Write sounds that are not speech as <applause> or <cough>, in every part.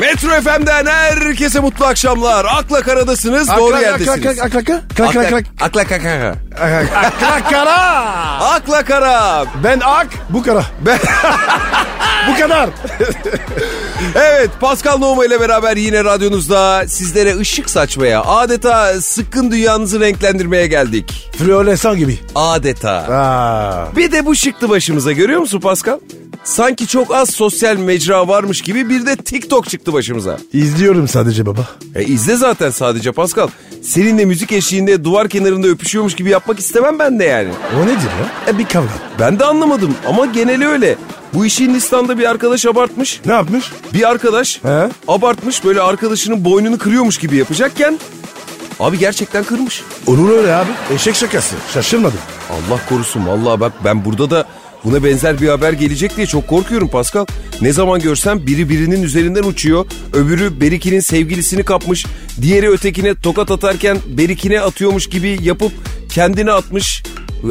Metro FM'den herkese mutlu akşamlar. Akla karadasınız, doğru yerdesiniz. Akla akla akla akla akla Akla kara. akla kara. Akla kara. Ben ak bu kara. Ben- <laughs> Bu kadar. Evet Pascal Nohma ile beraber yine radyonuzda sizlere ışık saçmaya adeta sıkkın dünyanızı renklendirmeye geldik. Floresan gibi. Adeta. Aa. Bir de bu çıktı başımıza görüyor musun Pascal? Sanki çok az sosyal mecra varmış gibi bir de TikTok çıktı başımıza. İzliyorum sadece baba. E izle zaten sadece Pascal. Seninle müzik eşiğinde duvar kenarında öpüşüyormuş gibi yapmak istemem ben de yani. O nedir ya? E bir kavga. Ben de anlamadım ama geneli öyle. Bu işi Hindistan'da bir arkadaş abartmış. Ne yapmış? Bir arkadaş He? abartmış böyle arkadaşının boynunu kırıyormuş gibi yapacakken abi gerçekten kırmış. Olur öyle abi. Eşek şakası. Şaşırmadım. Allah korusun vallahi bak ben burada da buna benzer bir haber gelecek diye çok korkuyorum Pascal. Ne zaman görsem biri birinin üzerinden uçuyor. Öbürü Berik'inin sevgilisini kapmış. Diğeri ötekine tokat atarken Berik'ine atıyormuş gibi yapıp kendine atmış.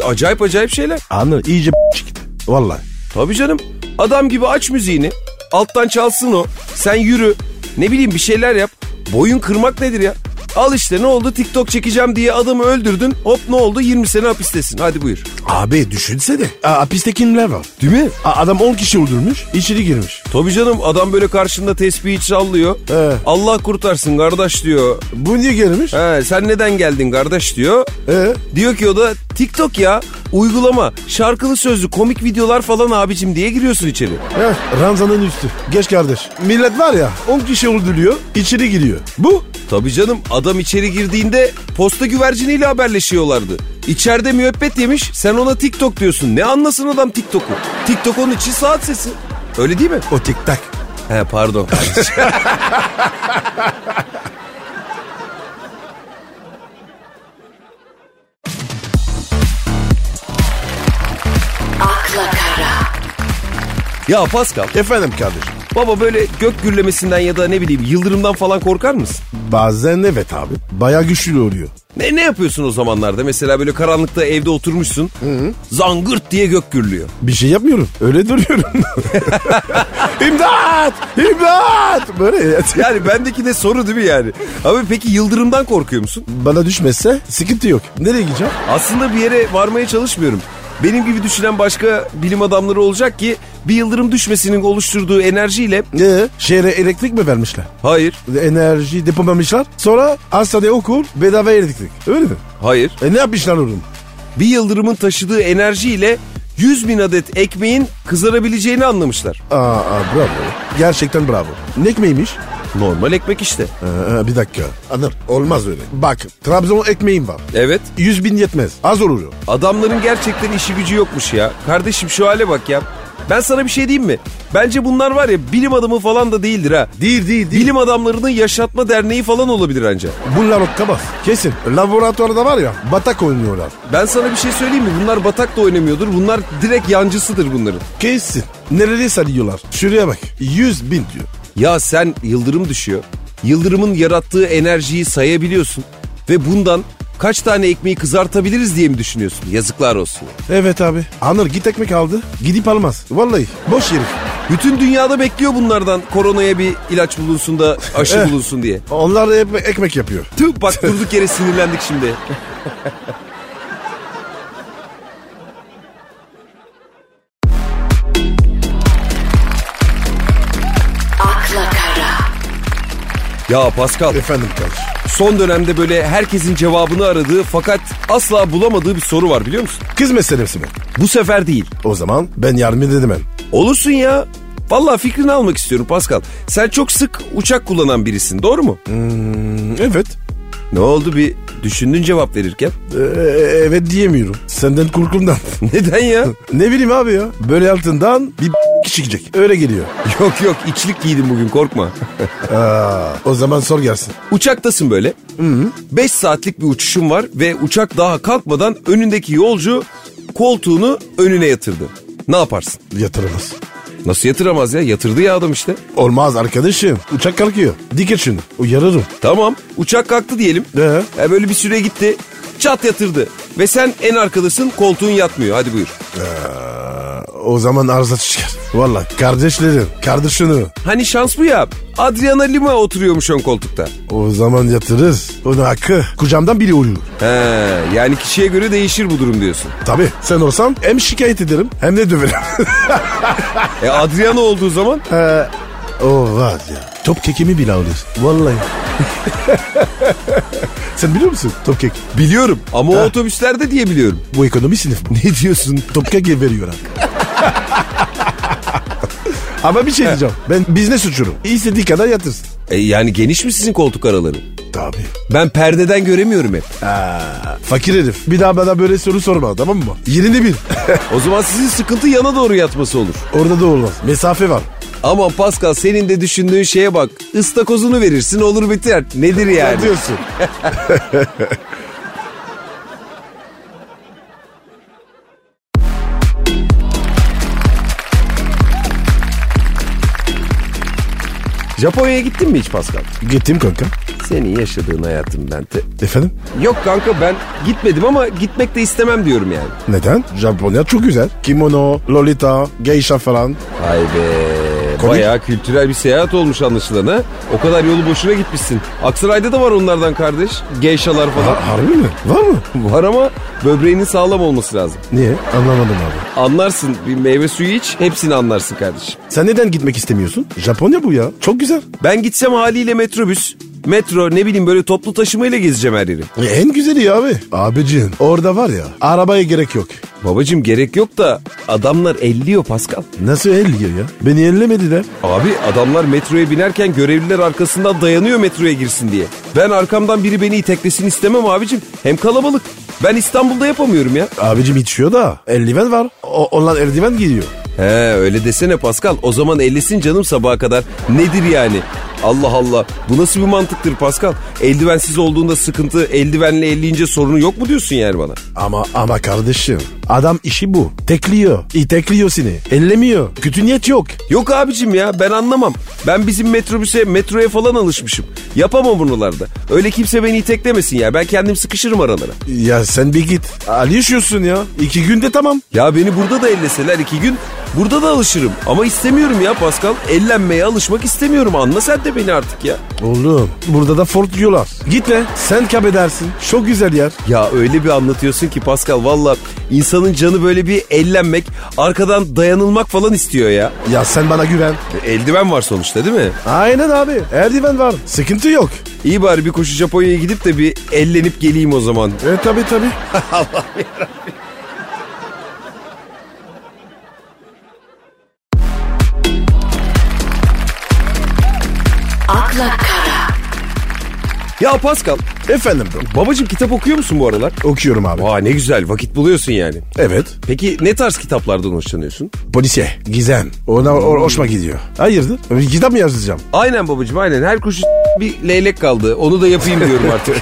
Acayip acayip şeyler. Anladın iyice <laughs> çıktı. Vallahi. Tabii canım. Adam gibi aç müziğini. Alttan çalsın o. Sen yürü. Ne bileyim bir şeyler yap. Boyun kırmak nedir ya? Al işte ne oldu TikTok çekeceğim diye adamı öldürdün. Hop ne oldu 20 sene hapistesin. Hadi buyur. Abi düşünsene. A, hapiste kimler var? Değil mi? A- adam 10 kişi öldürmüş. içeri girmiş. Tabii canım adam böyle karşında tesbihi sallıyor. He. Allah kurtarsın kardeş diyor. Bu niye girmiş? He, sen neden geldin kardeş diyor. Ee? Diyor ki o da TikTok ya uygulama şarkılı sözlü komik videolar falan abicim diye giriyorsun içeri. Heh, Ranzanın üstü. Geç kardeş. Millet var ya 10 kişi öldürüyor. içeri giriyor. Bu? Tabii canım adam içeri girdiğinde posta güverciniyle haberleşiyorlardı. İçeride müebbet yemiş sen ona TikTok diyorsun. Ne anlasın adam TikTok'u? TikTok onun için saat sesi. Öyle değil mi? O tik tak. He pardon. <laughs> akla kara, ya Pascal Efendim kardeşim. baba böyle gök gürlemesinden ya da ne bileyim yıldırımdan falan korkar mısın? Bazen evet abi. Baya güçlü oluyor. Ne, ne yapıyorsun o zamanlarda? Mesela böyle karanlıkta evde oturmuşsun. Zangırt diye gök gürlüyor. <laughs> Bir şey yapmıyorum. Öyle duruyorum. <laughs> imdat! İmdat! Böyle ya. Yani bendeki de soru değil mi yani? Abi peki yıldırımdan korkuyor musun? Bana düşmezse sıkıntı yok. Nereye gideceğim? Aslında bir yere varmaya çalışmıyorum. Benim gibi düşünen başka bilim adamları olacak ki bir yıldırım düşmesinin oluşturduğu enerjiyle Ee, şehre elektrik mi vermişler? hayır, Enerji depolamışlar. Sonra hastaneye okul bedava elektrik. Öyle mi? hayır. E ne yapmışlar oğlum? Bir yıldırımın taşıdığı enerjiyle 100 bin adet ekmeğin kızarabileceğini anlamışlar. Aa, aa, bravo. Gerçekten bravo. Ne ekmeğiymiş? Normal ekmek işte. Ee, e, bir dakika. Anır. Olmaz öyle. Bak Trabzon ekmeğim var. Evet. 100 bin yetmez. Az olur. o. Adamların gerçekten işi gücü yokmuş ya. Kardeşim şu hale bak ya. Ben sana bir şey diyeyim mi? Bence bunlar var ya bilim adamı falan da değildir ha. Değil değil değil. Bilim adamlarının yaşatma derneği falan olabilir anca. Bunlar okkamaz. Kesin. Laboratuvarda var ya batak oynuyorlar. Ben sana bir şey söyleyeyim mi? Bunlar batak da oynamıyordur. Bunlar direkt yancısıdır bunların. Kesin. Nereye sarıyorlar? Şuraya bak. 100 bin diyor. Ya sen yıldırım düşüyor. Yıldırımın yarattığı enerjiyi sayabiliyorsun. Ve bundan kaç tane ekmeği kızartabiliriz diye mi düşünüyorsun? Yazıklar olsun. Evet abi. Anır git ekmek aldı. Gidip almaz. Vallahi. Boş herif. Bütün dünyada bekliyor bunlardan koronaya bir ilaç bulunsun da aşı <laughs> Eh. bulunsun diye. Onlar da hep ekmek yapıyor. Tüh bak durduk yere sinirlendik şimdi. akla kara, Ya Pascal Efendim kardeş. son dönemde böyle herkesin cevabını aradığı fakat asla bulamadığı bir soru var biliyor musun? Kız meselesi mi? Bu sefer değil. O zaman ben yardım edemem. Olursun ya. Vallahi fikrini almak istiyorum Pascal. Sen çok sık uçak kullanan birisin doğru mu? Hmm, Evet. Ne oldu bir düşündün cevap verirken? <laughs> Ee, evet diyemiyorum. Senden korkumdan. <laughs> Neden ya? ne bileyim abi ya. Böyle altından bir <laughs> çıkacak. Öyle geliyor. <laughs> yok yok içlik giydim bugün korkma. Aa, o zaman sor gelsin. Uçaktasın böyle. 5 saatlik bir uçuşun var ve uçak daha kalkmadan önündeki yolcu koltuğunu önüne yatırdı. Ne yaparsın? Yatırılmaz. Nasıl yatıramaz ya? Yatırdı ya adam işte. Olmaz arkadaşım. Uçak kalkıyor. Dikkat şunu. Uyarırım. Tamam uçak kalktı diyelim. Ee? E, böyle bir süre gitti. Çat yatırdı. Ve sen en arkadasın koltuğun yatmıyor. Hadi buyur. O zaman arıza çıkar. Valla kardeşlerim, kardeşini. Hani şans bu ya. Adriana Lima oturuyormuş ön koltukta. O zaman yatırız. Onun hakkı kucamdan biri oluyor. He, yani kişiye göre değişir bu durum diyorsun. Tabii sen olsan hem şikayet ederim hem de döverim. <laughs> E Adriana olduğu zaman Ee, o var ya. Top kekimi bile alır. Vallahi. <laughs> sen biliyor musun top kek? biliyorum ama o Ha. otobüslerde diye biliyorum. Bu ekonomi sınıf. <laughs> Ne diyorsun? Top kek veriyor abi. <laughs> Ama bir şey diyeceğim. Ben biznes uçurum. İstediği kadar yatırsın. E, yani geniş mi sizin koltuk araları? Tabii. Ben perdeden göremiyorum hep. Fakir herif. Bir daha bana böyle soru sorma tamam mı? Yerini bil. <laughs> O zaman sizin sıkıntı yana doğru yatması olur. Orada da olmaz. Mesafe var. Ama Pascal senin de düşündüğün şeye bak. Istakozunu verirsin olur biter. Nedir yani? Ne diyorsun? Japonya'ya gittin mi hiç Pascal? Gittim kanka. Senin yaşadığın hayatım ben. te- Efendim? Yok kanka ben gitmedim ama gitmek de istemem diyorum yani. Neden? Japonya çok güzel. Kimono, lolita, geisha falan. Vay be. Komik. Bayağı kültürel bir seyahat olmuş anlaşılan ha. O kadar yolu boşuna gitmişsin. Aksaray'da da var onlardan kardeş. Geyşalar falan. Ha, harbi mi? Var mı? <laughs> var ama böbreğinin sağlam olması lazım. Niye? Anlamadım abi. Anlarsın bir meyve suyu iç hepsini anlarsın kardeşim. Sen neden gitmek istemiyorsun? Japonya bu ya. Çok güzel. Ben gitsem haliyle metrobüs, metro ne bileyim böyle toplu taşımayla gezeceğim her yeri. E, en güzeli ya abi. Abicim orada var ya arabaya gerek yok. Babacım gerek yok da adamlar elliyor Pascal. Nasıl elliyor ya? Beni ellemediler. Abi adamlar metroya binerken görevliler arkasından dayanıyor metroya girsin diye. Ben arkamdan biri beni iteklesin istemem abicim. Hem kalabalık. Ben İstanbul'da yapamıyorum ya. Abicim içiyor da eldiven var. O, onlar eldiven giyiyor. He öyle desene Pascal. O zaman ellesin canım sabaha kadar. Nedir yani? Allah Allah. Bu nasıl bir mantıktır Pascal? Eldivensiz olduğunda sıkıntı, eldivenle elleyince sorunu yok mu diyorsun yani bana? Ama ama kardeşim adam işi bu. Tekliyor. İtekliyor seni. Ellemiyor. Kötü niyet yok. Yok abicim ya ben anlamam. Ben bizim metrobüse, metroya falan alışmışım. Yapamam bunlarda. Öyle kimse beni iteklemesin ya. Ben kendim sıkışırım aralara. Ya sen bir git. Alışıyorsun ya. İki günde tamam. Ya beni burada da elleseler iki gün burada da alışırım. Ama istemiyorum ya Pascal. Ellenmeye alışmak istemiyorum. Anla sen de beni artık ya. Oğlum burada da Ford diyorlar. Gitme. Sen kabedersin. Çok güzel yer. Ya öyle bir anlatıyorsun ki Pascal valla insanın canı böyle bir ellenmek, arkadan dayanılmak falan istiyor ya. Ya sen bana güven. E, Eldiven var sonuçta değil mi? Aynen abi. Erdiven var. Sıkıntı yok. İyi bari bir koşu Japonya'ya gidip de bir ellenip geleyim o zaman. E tabi tabi. akla kara, Ya Pascal, Efendim bro. babacım kitap okuyor musun bu aralar? Okuyorum abi. Vay ne güzel vakit buluyorsun yani. Evet. Peki ne tarz kitaplardan hoşlanıyorsun? Polisiye. Gizem. Ona o- hoşuma gidiyor. Hayırdır? E, Bir Kitap mı yazacağım? Aynen babacım aynen her koşu bir leylek kaldı onu da yapayım diyorum <laughs> artık.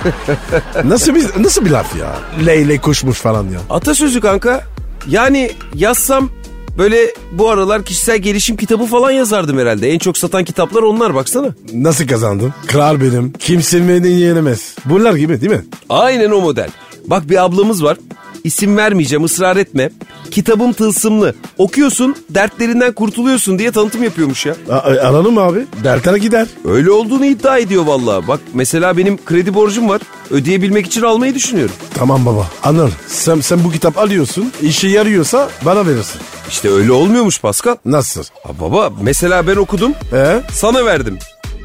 Nasıl bir nasıl bir laf ya? Leyle kuşmuş falan ya. Atasözü kanka. Yani yazsam böyle bu aralar kişisel gelişim kitabı falan yazardım herhalde. En çok satan kitaplar onlar baksana. Nasıl kazandım? Kral benim. Kimse beni yenemez. Bunlar gibi değil mi? Aynen o model. Bak bir ablamız var. İsim vermeyeceğim ısrar etme. Kitabım tılsımlı. Okuyorsun dertlerinden kurtuluyorsun diye tanıtım yapıyormuş ya. A- a- aralım abi. Dertler gider. Öyle olduğunu iddia ediyor vallahi. Bak mesela benim kredi borcum var. Ödeyebilmek için almayı düşünüyorum. Tamam baba. Anıl. Sen, sen bu kitap alıyorsun. İşe yarıyorsa bana verirsin. İşte öyle olmuyormuş Pascal. Nasıl? Ha baba mesela ben okudum. He? Sana verdim.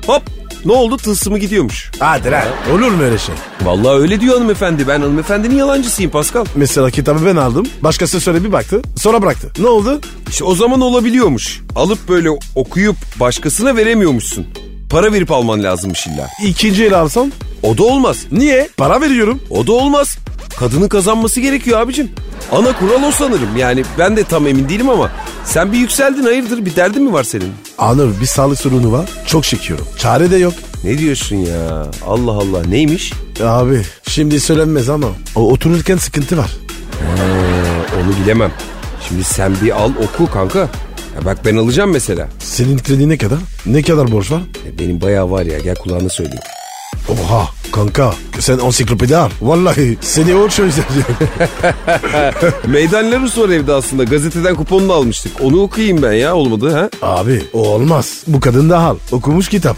Hop ne oldu tılsımı gidiyormuş. Hadi lan. Olur mu öyle şey? Vallahi öyle diyor hanımefendi. Ben hanımefendinin yalancısıyım Pascal. Mesela kitabı ben aldım. Başkası söyle bir baktı. Sonra bıraktı. Ne oldu? İşte o zaman olabiliyormuş. Alıp böyle okuyup başkasına veremiyormuşsun. Para verip alman lazımmış illa. İkinci el alsam. O da olmaz. Niye? Para veriyorum. O da olmaz. Kadının kazanması gerekiyor abicim. Ana kural o sanırım. Yani ben de tam emin değilim ama sen bir yükseldin hayırdır bir derdin mi var senin? Anıl bir sağlık sorunu var. Çok çekiyorum. Çare de yok. Ne diyorsun ya? Allah Allah neymiş? Abi şimdi söylenmez ama o otururken sıkıntı var. Ee, onu bilemem. Şimdi sen bir al oku kanka. Ya bak ben alacağım mesela. Senin kredi ne kadar? Ne kadar borç var? Ya Benim bayağı var ya gel kulağına söyleyeyim. Oha Kanka sen ansiklopedi al. Vallahi seni o çözecek. <laughs> Meydanları sor evde aslında. Gazeteden kuponunu almıştık. Onu okuyayım ben ya olmadı ha. Abi o olmaz. Bu kadın da hal. Okumuş kitap.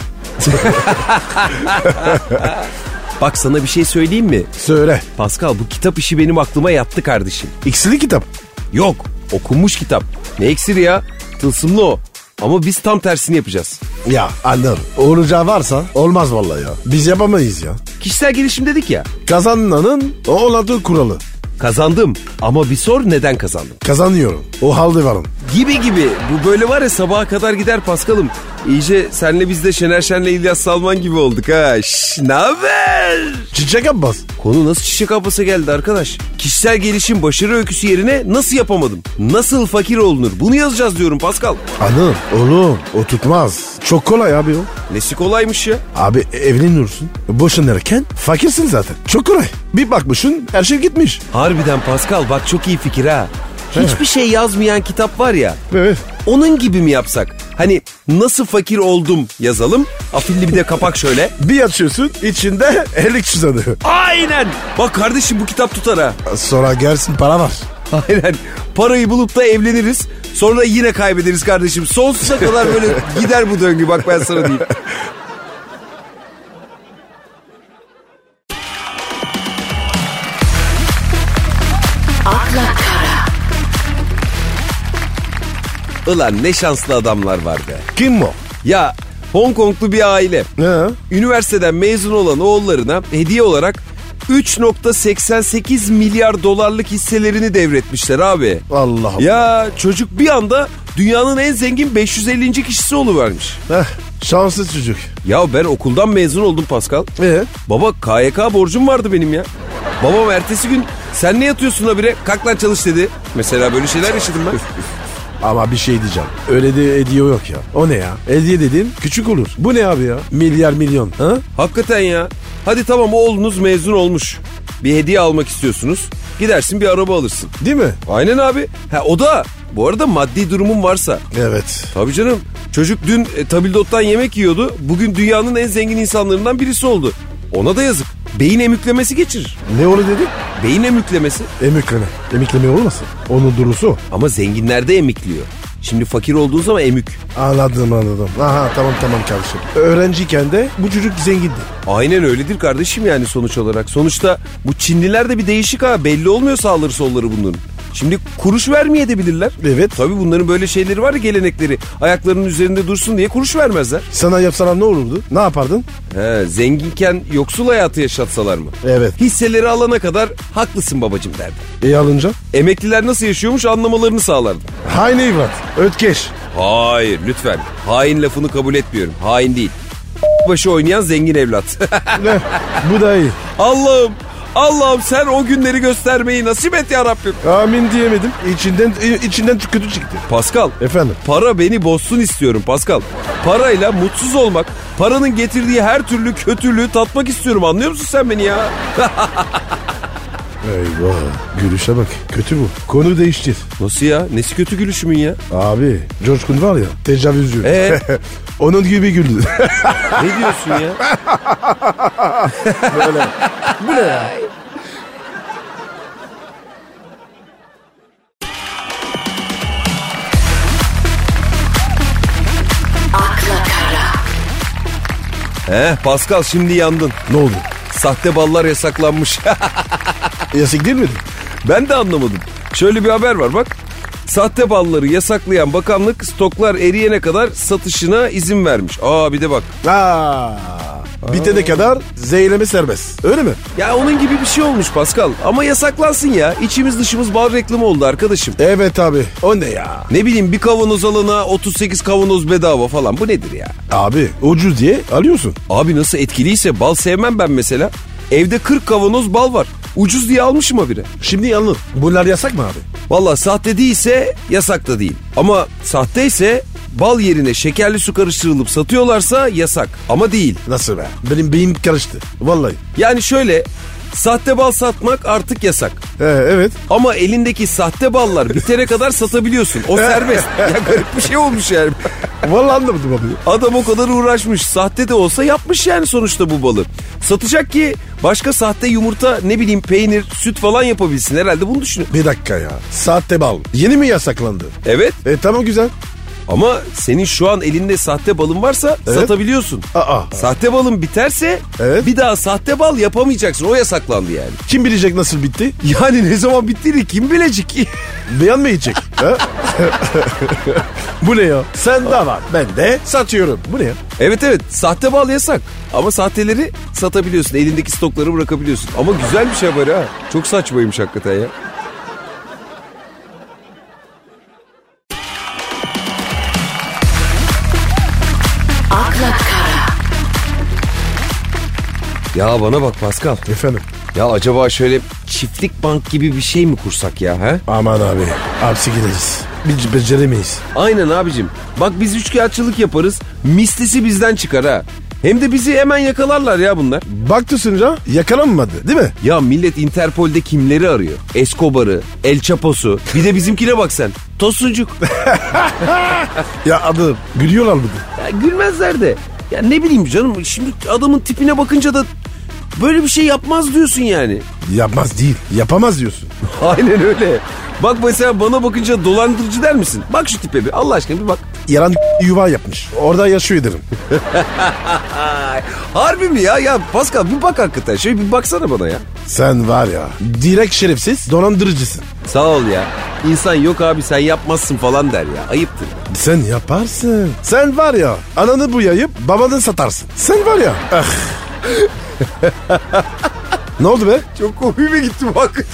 Bak sana bir şey söyleyeyim mi? Söyle. Pascal bu kitap işi benim aklıma yattı kardeşim. İksili kitap. Yok okunmuş kitap. Ne eksiri ya? Tılsımlı o. Ama biz tam tersini yapacağız. Ya anlarım. Olacağı varsa olmaz vallahi ya. Biz yapamayız ya. Kişisel gelişim dedik ya. Kazananın o oladığı kuralı. Kazandım ama bir sor neden kazandım? Kazanıyorum. O halde varım. Gibi gibi. Bu böyle var ya sabaha kadar gider Paskal'ım. İyice senle biz de Şener Şen'le İlyas Salman gibi olduk ha. Şş, ne haber? Çiçek Abbas. Konu nasıl çiçek ablası geldi arkadaş? Kişisel gelişim başarı öyküsü yerine nasıl yapamadım? Nasıl fakir olunur? Bunu yazacağız diyorum Pascal. Anıl oğlum o tutmaz. Çok kolay abi o. Nesi kolaymış ya? Abi evleniyorsun. Boşanırken fakirsin zaten. Çok kolay. Bir bakmışsın her şey gitmiş. Harbiden Pascal bak çok iyi fikir ha. Hiçbir şey yazmayan kitap var ya. Evet. Onun gibi mi yapsak? Hani nasıl fakir oldum yazalım. Afilli bir de kapak şöyle. Bir açıyorsun içinde <laughs> elik çizadı. Aynen. Bak kardeşim bu kitap tutar ha. Sonra gelsin para var. Aynen. Parayı bulup da evleniriz. Sonra yine kaybederiz kardeşim. Sonsuza kadar böyle gider bu döngü bak ben sana diyeyim. akla kara, Ulan ne şanslı adamlar var be. Kim o? Ya Hong Konglu bir aile. Ne? Üniversiteden mezun olan oğullarına hediye olarak 3.88 milyar dolarlık hisselerini devretmişler abi. Allah Allah. Ya çocuk bir anda dünyanın en zengin 550. kişisi oluvermiş. Heh, şanslı çocuk. Ya ben okuldan mezun oldum Pascal. Ee? Baba KYK borcum vardı benim ya. Babam ertesi gün sen ne yatıyorsun habire kalk lan çalış dedi. Mesela böyle şeyler yaşadım ben. Ama bir şey diyeceğim. Öyle de hediye yok ya. O ne ya? Hediye dediğin küçük olur. Bu ne abi ya? Milyar milyon. Ha? Hakikaten ya. Hadi tamam oğlunuz mezun olmuş. Bir hediye almak istiyorsunuz. Gidersin bir araba alırsın. Değil mi? Aynen abi. Ha o da bu arada maddi durumun varsa. Evet. Tabii canım. Çocuk dün e, tabildottan yemek yiyordu. Bugün dünyanın en zengin insanlarından birisi oldu. Ona da yazık. Beyin emüklemesi geçirir. Ne oldu dedi? Beyin emüklemesi. Emikleme. Emikleme olmasın? Onun durusu o. Ama zenginlerde emikliyor. Şimdi fakir olduğu zaman emük. Anladım anladım. Aha tamam tamam kardeşim. Öğrenciyken de bu çocuk zengindi. Aynen öyledir kardeşim yani sonuç olarak. Sonuçta bu Çinliler de bir değişik ha. Belli olmuyor sağları solları bunların. Şimdi kuruş vermeye de bilirler. Evet. Tabii bunların böyle şeyleri var ya gelenekleri. Ayaklarının üzerinde dursun diye kuruş vermezler. Sana yapsalar ne olurdu? Ne yapardın? He, zenginken yoksul hayatı yaşatsalar mı? Evet. Hisseleri alana kadar haklısın babacım derdi. İyi E, alınca? Emekliler nasıl yaşıyormuş anlamalarını sağlardı. Hayne evlat. Ötkeş. Hayır lütfen. Hain lafını kabul etmiyorum. Hain değil. Başı oynayan zengin evlat. <laughs> Ne? bu da iyi. Allah'ım. Allah'ım sen o günleri göstermeyi nasip et ya Rabbim. E, Amin diyemedim. İçinden içinden kötü çıktı. Pascal. Efendim? Para beni bozsun istiyorum Pascal. Parayla mutsuz olmak, paranın getirdiği her türlü kötülüğü tatmak istiyorum anlıyor musun sen beni ya? Eyvah. Gülüşe bak. Kötü bu. Konu değiştir. Nasıl ya? Nesi kötü gülüşümün ya? Abi George Clooney var ya tecavüzcü. Ee? <laughs> Onun gibi güldü. Ne diyorsun ya? akla kara, Heh Eh, Pascal şimdi yandın. ne <laughs> oldu? Sahte ballar yasaklanmış. <laughs> Yasak değil miydi? ben de anlamadım. Şöyle bir haber var bak. Sahte balları yasaklayan bakanlık stoklar eriyene kadar satışına izin vermiş. Aa bir de bak. Aa, bitene kadar zeyleme serbest. Öyle mi? Ya onun gibi bir şey olmuş Pascal. Ama yasaklansın ya. İçimiz dışımız bal reklamı oldu arkadaşım. Evet abi. O ne ya? Ne bileyim bir kavanoz alana 38 kavanoz bedava falan. Bu nedir ya? Abi ucuz diye alıyorsun. Abi nasıl etkiliyse bal sevmem ben mesela. Evde 40 kavanoz bal var. Ucuz diye almışım habire. Şimdi alın. Bunlar yasak mı abi? Valla sahte değilse yasak da değil. Ama sahte ise bal yerine şekerli su karıştırılıp satıyorlarsa yasak. Ama değil. Nasıl be? Benim beyim karıştı. Vallahi. Yani şöyle sahte bal satmak artık yasak. Ee, evet. Ama <laughs> elindeki sahte ballar bitene kadar satabiliyorsun. O serbest. Ya garip bir şey olmuş yani. Vallahi anlamadım abi. Adam o kadar uğraşmış. Sahte de olsa yapmış yani sonuçta bu balı. Satacak ki başka sahte yumurta ne bileyim peynir, süt falan yapabilsin. Herhalde bunu düşünüyor. Bir dakika ya. Sahte bal. Yeni mi yasaklandı? Evet E tamam güzel. ama senin şu an elinde sahte balın varsa Evet. satabiliyorsun. Aa. Sahte balın biterse Evet. bir daha sahte bal yapamayacaksın. O yasaklandı yani. Kim bilecek nasıl bitti? Yani Hani ne zaman bittiğini kim bilecek? Beyan mı yiyecek? ha? bu ne ya? Sen de var. Ben de satıyorum. Bu ne ya? evet evet sahte bal yasak. Ama sahteleri satabiliyorsun. Elindeki stokları bırakabiliyorsun. Ama güzel bir şey haber ha. Çok saçmaymış hakikaten ya. akla kara, Ya bana bak Pascal. Efendim. Ya acaba şöyle çiftlik bank gibi bir şey mi kursak ya? He? Aman abi. Hapsi gideriz. Biz beceremeyiz. Aynen abicim. Bak biz üçkağıtçılık yaparız. Mislisi bizden çıkar ha. Hem de bizi hemen yakalarlar ya bunlar. Baktı sınıra yakalanmadı değil mi? Ya millet Interpol'de kimleri arıyor? Escobar'ı, El Chapo'su. Bir de bizimkine bak sen. Tosuncuk. <laughs> Ya adı gülüyorlar mı? Ya gülmezler de. Ya ne bileyim canım şimdi adamın tipine bakınca da böyle bir şey yapmaz diyorsun yani. <laughs> Yapmaz değil. Yapamaz diyorsun. Aynen öyle. Bak mesela bana bakınca dolandırıcı der misin? Bak şu tipe bir Allah aşkına bir bak. Yaran <laughs> yuva yapmış. Orada yaşıyor derim. Ay, harbi mi ya? Ya Pascal bir bak hakikaten. Şöyle bir baksana bana ya. Sen var ya direkt şerefsiz dolandırıcısın. Sağ ol ya. İnsan yok abi sen yapmazsın falan der ya. Ayıptır. Sen yaparsın. Sen var ya ananı buyayıp babanı satarsın. Sen var ya. ah. <laughs> ne oldu be? Çok komiğime gitti bak.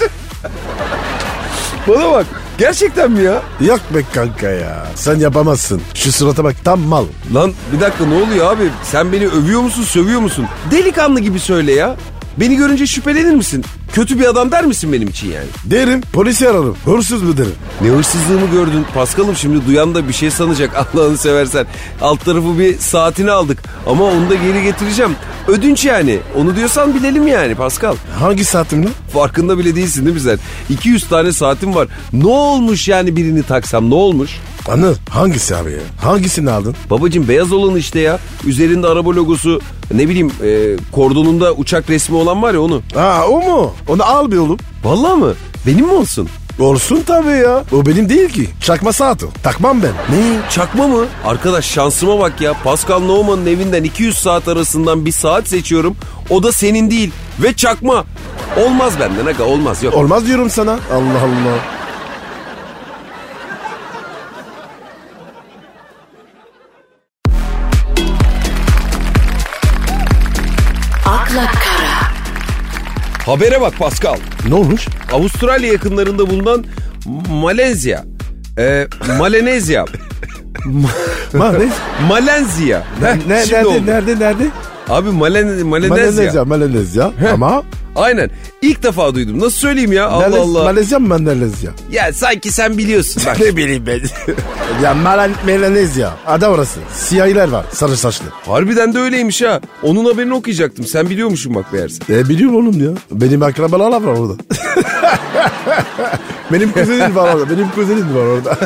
bana bak. Gerçekten mi ya? Yok be kanka ya. Sen yapamazsın. Şu surata bak tam mal. Lan bir dakika ne oluyor abi? Sen beni övüyor musun sövüyor musun? Delikanlı gibi söyle ya. Beni görünce şüphelenir misin? Kötü bir adam der misin benim için yani? Derim polisi ararım. Hırsız mı derim. Ne hırsızlığımı gördün Paskal'ım şimdi duyan da bir şey sanacak <laughs> Allah'ını seversen. Alt tarafı bir saatini aldık ama onu da geri getireceğim. Ödünç yani onu diyorsan bilelim yani Paskal. Hangi saatim lan? Farkında bile değilsin değil mi sen? 200 tane saatim var. Ne olmuş yani birini taksam ne olmuş? Anıl hangisi abi ya? Hangisini aldın? Babacım beyaz olan işte ya. Üzerinde araba logosu ne bileyim e, kordonunda uçak resmi olan var ya onu. Aa o mu? Onu al be oğlum. Vallahi mı? Benim mi olsun? Olsun tabii ya. O benim değil ki. Çakma saat o. Takmam ben. Ne? Çakma mı? Arkadaş şansıma bak ya. Pascal Nauman'ın evinden 200 saat arasından bir saat seçiyorum. O da senin değil. Ve çakma. Olmaz benden aga olmaz yok. Olmaz diyorum sana. Allah Allah. akla kara, Habere bak Pascal. <laughs> Ne olmuş? Avustralya yakınlarında bulunan Malezya. Ee, <laughs> Malenezya. Ma, ne? Malezya. Heh, Ne- şimdi oldu. nerede, nerede? Abi Malen, Malenezya. Malezya, Malezya. Ama Aynen. İlk defa duydum. Nasıl söyleyeyim ya? Allah Malez- Allah. Malezya mı Malezya? Ya sanki sen biliyorsun. <laughs> Bak. Ne bileyim ben. ya Malen, Malezya. Ada orası. Siyahiler var. Sarı saçlı. Harbiden de öyleymiş ha. Onun haberini okuyacaktım. Sen biliyormuşsun bak meğerse. E biliyorum oğlum ya. Benim akrabalar var orada. <laughs> benim kuzenim var orada. Benim kuzenim var orada.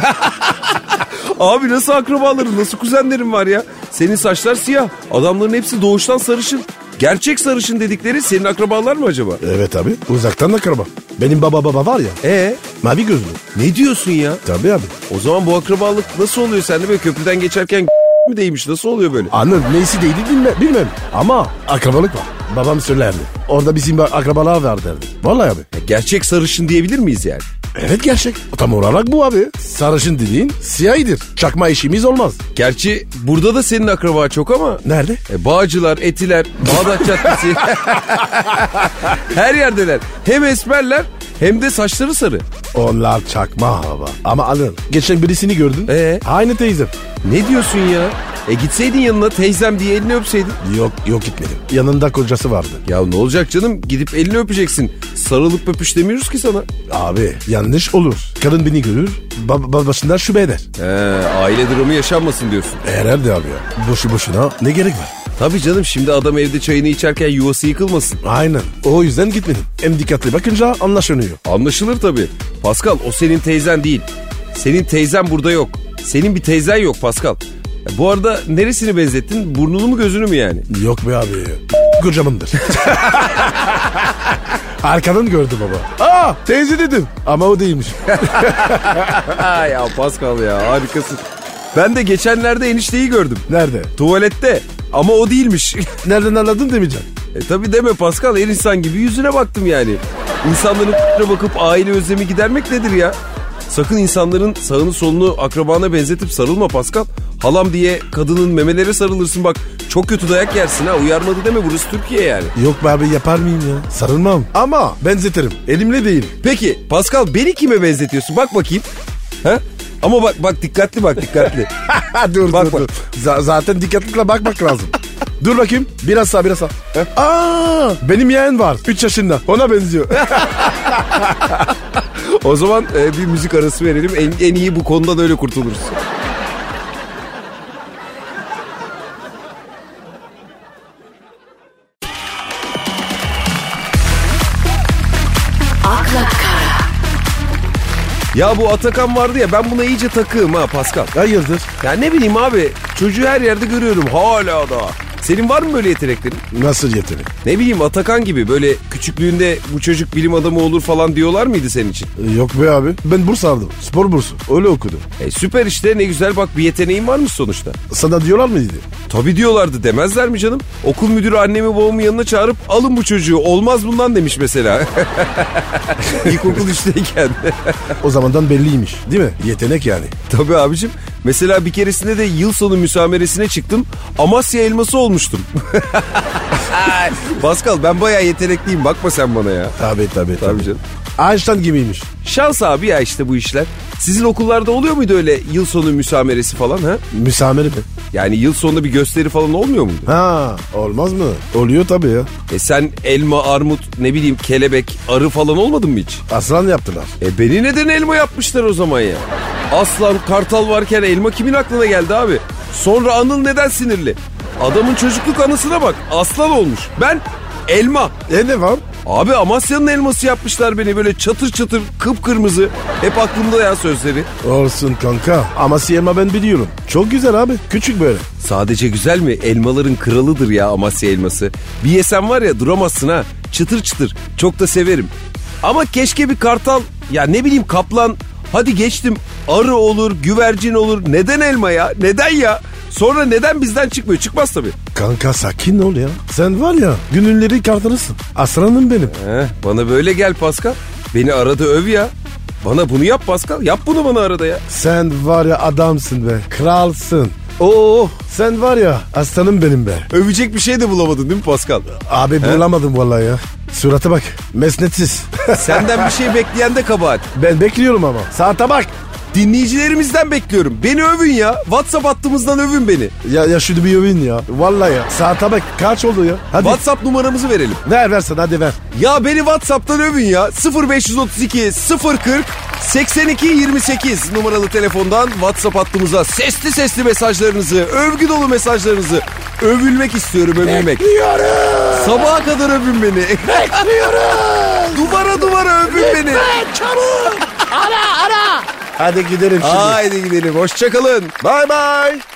Abi nasıl akrabaların, nasıl kuzenlerin var ya? Senin saçlar siyah. Adamların hepsi doğuştan sarışın. Gerçek sarışın dedikleri senin akrabalar mı acaba? <laughs> evet abi. Uzaktan akraba. Benim baba baba var ya. E Mavi gözlü. ne diyorsun ya? Tabii abi. O zaman bu akrabalık nasıl oluyor sende böyle köprüden geçerken <laughs> mi değmiş nasıl oluyor böyle? Anıl neyisi değildi bilmem, bilmem. Ama akrabalık var. Babam söylerdi. Orada bizim akrabalar var derdi. Vallahi abi. Gerçek sarışın diyebilir miyiz yani? Evet gerçek. Tam olarak bu abi. Sarışın dediğin siyahidir. Çakma işimiz olmaz. Gerçi burada da senin akraba çok ama Nerede? E, Bağcılar, Etiler, Bağdat Caddesi. Her yerdeler. Hem esmerler hem de saçları sarı. Onlar çakma hava. Ama Anıl geçen birisini gördün. Ee? Aynı teyzem. Ne diyorsun ya? E gitseydin yanına teyzem diye elini öpseydin. Yok yok gitmedim. Yanında kocası vardı. Ya ne olacak canım? Gidip elini öpeceksin. Sarılıp öpüş demiyoruz ki sana. Abi yanlış olur. Kadın beni görür. Bab babasından şüphe eder. He, aile dramı yaşanmasın diyorsun. E, Herhalde abi ya. Boşu boşuna ne gerek var? Tabii canım şimdi adam evde çayını içerken yuvası yıkılmasın. Aynen. O yüzden gitmedim. Hem dikkatli bakınca anlaşılıyor. Anlaşılır tabii. Pascal o senin teyzen değil. Senin teyzen burada yok. Senin bir teyzen yok Pascal. Ya Bu arada neresini benzettin? Burnunu mu gözünü mü yani? Yok be abi. Kocamındır. <laughs> Arkadan gördü baba. Aa teyze dedim. Ama o değilmiş. <laughs> Ha ya Pascal ya harikasın. Ben de geçenlerde enişteyi gördüm. Nerede? Tuvalette ama o değilmiş. <laughs> Nereden anladın demeyeceğim. e tabi deme Pascal her insan gibi yüzüne baktım yani. İnsanların bakıp aile özlemi gidermek nedir ya? Sakın insanların sağını solunu akrabana benzetip sarılma Pascal. Halam diye kadının memelere sarılırsın bak. Çok kötü dayak yersin ha uyarmadı deme burası Türkiye yani. Yok be abi yapar mıyım ya? Sarılmam. Ama <laughs> benzetirim. Elimle değil. Peki Pascal beni kime benzetiyorsun? Bak bakayım. Ha? Ama bak bak dikkatli bak dikkatli. dur Bak, dur bak. dur. Za- zaten dikkatlikle bakmak <laughs> lazım. dur bakayım. Biraz sağ biraz sağ. Heh. Aa, benim yeğen var. 3 yaşında. Ona benziyor. <laughs> o zaman e, bir müzik arası verelim. En, en iyi bu konudan öyle kurtuluruz. akla kara, Ya bu Atakan vardı ya ben buna iyice takığım ha Pascal. Hayırdır? Ya ne bileyim abi çocuğu her yerde görüyorum hala da. Senin var mı böyle yeteneklerin? Nasıl yetenek? Ne bileyim Atakan gibi böyle küçüklüğünde bu çocuk bilim adamı olur falan diyorlar mıydı senin için? Yok be abi. Ben burs aldım. Spor bursu. Öyle okudum. E süper işte ne güzel bak bir yeteneğin varmış sonuçta. Sana diyorlar mıydı? Tabii diyorlardı demezler mi canım? Okul müdürü annemi babamı yanına çağırıp alın bu çocuğu olmaz bundan demiş mesela. <laughs> İlkokul üçteyken. O zamandan belliymiş. Değil mi? Yetenek yani. <laughs> Tabii abicim. Mesela bir keresinde de yıl sonu müsameresine çıktım. Amasya elması olmuştum. <laughs> Pascal ben bayağı yetenekliyim bakma sen bana ya. Tabii tabii. Tabii canım. Einstein gibiymiş. Şans abi ya işte bu işler. Sizin okullarda oluyor muydu öyle yıl sonu müsameresi falan ha? Müsamere mi? Yani yıl sonunda bir gösteri falan olmuyor muydu? Ha olmaz mı? Oluyor tabii ya. E sen elma, armut, ne bileyim kelebek, arı falan olmadın mı hiç? Aslan yaptılar. E beni neden elma yapmışlar o zaman ya? Aslan, kartal varken elma kimin aklına geldi abi? Sonra Anıl neden sinirli? Adamın çocukluk anısına bak. Aslan olmuş. Ben elma. E ne var? Abi Amasya'nın elması yapmışlar beni böyle çatır çatır kıpkırmızı. Hep aklımda ya sözleri. Olsun kanka. Ama siyema ben biliyorum. Çok güzel abi. Küçük böyle. Sadece güzel mi? Elmaların kralıdır ya Amasya elması. Bir yesen var ya duramazsın ha. Çıtır çıtır. Çok da severim. Ama keşke bir kartal, ya ne bileyim kaplan, hadi geçtim. Arı olur, güvercin olur. Neden elma ya? Neden ya? Sonra neden bizden çıkmıyor? Çıkmaz tabii. Kanka sakin ol ya. Sen var ya gününleri kartarırsın. Aslanım benim. Heh, bana böyle gel Pascal. Beni arada öv ya. Bana bunu yap Pascal. Yap bunu bana arada ya. Sen var ya adamsın be. Kralsın. Oo sen var ya aslanım benim be. Övecek bir şey de bulamadın değil mi Pascal? Abi bulamadım vallahi ya. Surata bak. Mesnetsiz. <laughs> Senden bir şey bekleyen de kabahat. ben bekliyorum ama. Saate bak. Dinleyicilerimizden bekliyorum. Beni övün ya. WhatsApp hattımızdan övün beni. Ya, ya şunu bir övün ya. Vallahi ya. Saate bak. Kaç oldu ya? Hadi. WhatsApp numaramızı verelim. Ver versen hadi ver. Ya beni WhatsApp'tan övün ya. 0532 040 82 28 numaralı telefondan WhatsApp hattımıza sesli sesli mesajlarınızı, övgü dolu mesajlarınızı övülmek istiyorum övülmek. Diyorum. Sabaha kadar övün beni. <laughs> Diyorum. duvara duvara övün beni. Hadi gidelim şimdi. Haydi gidelim. Hoşçakalın. Bay bay.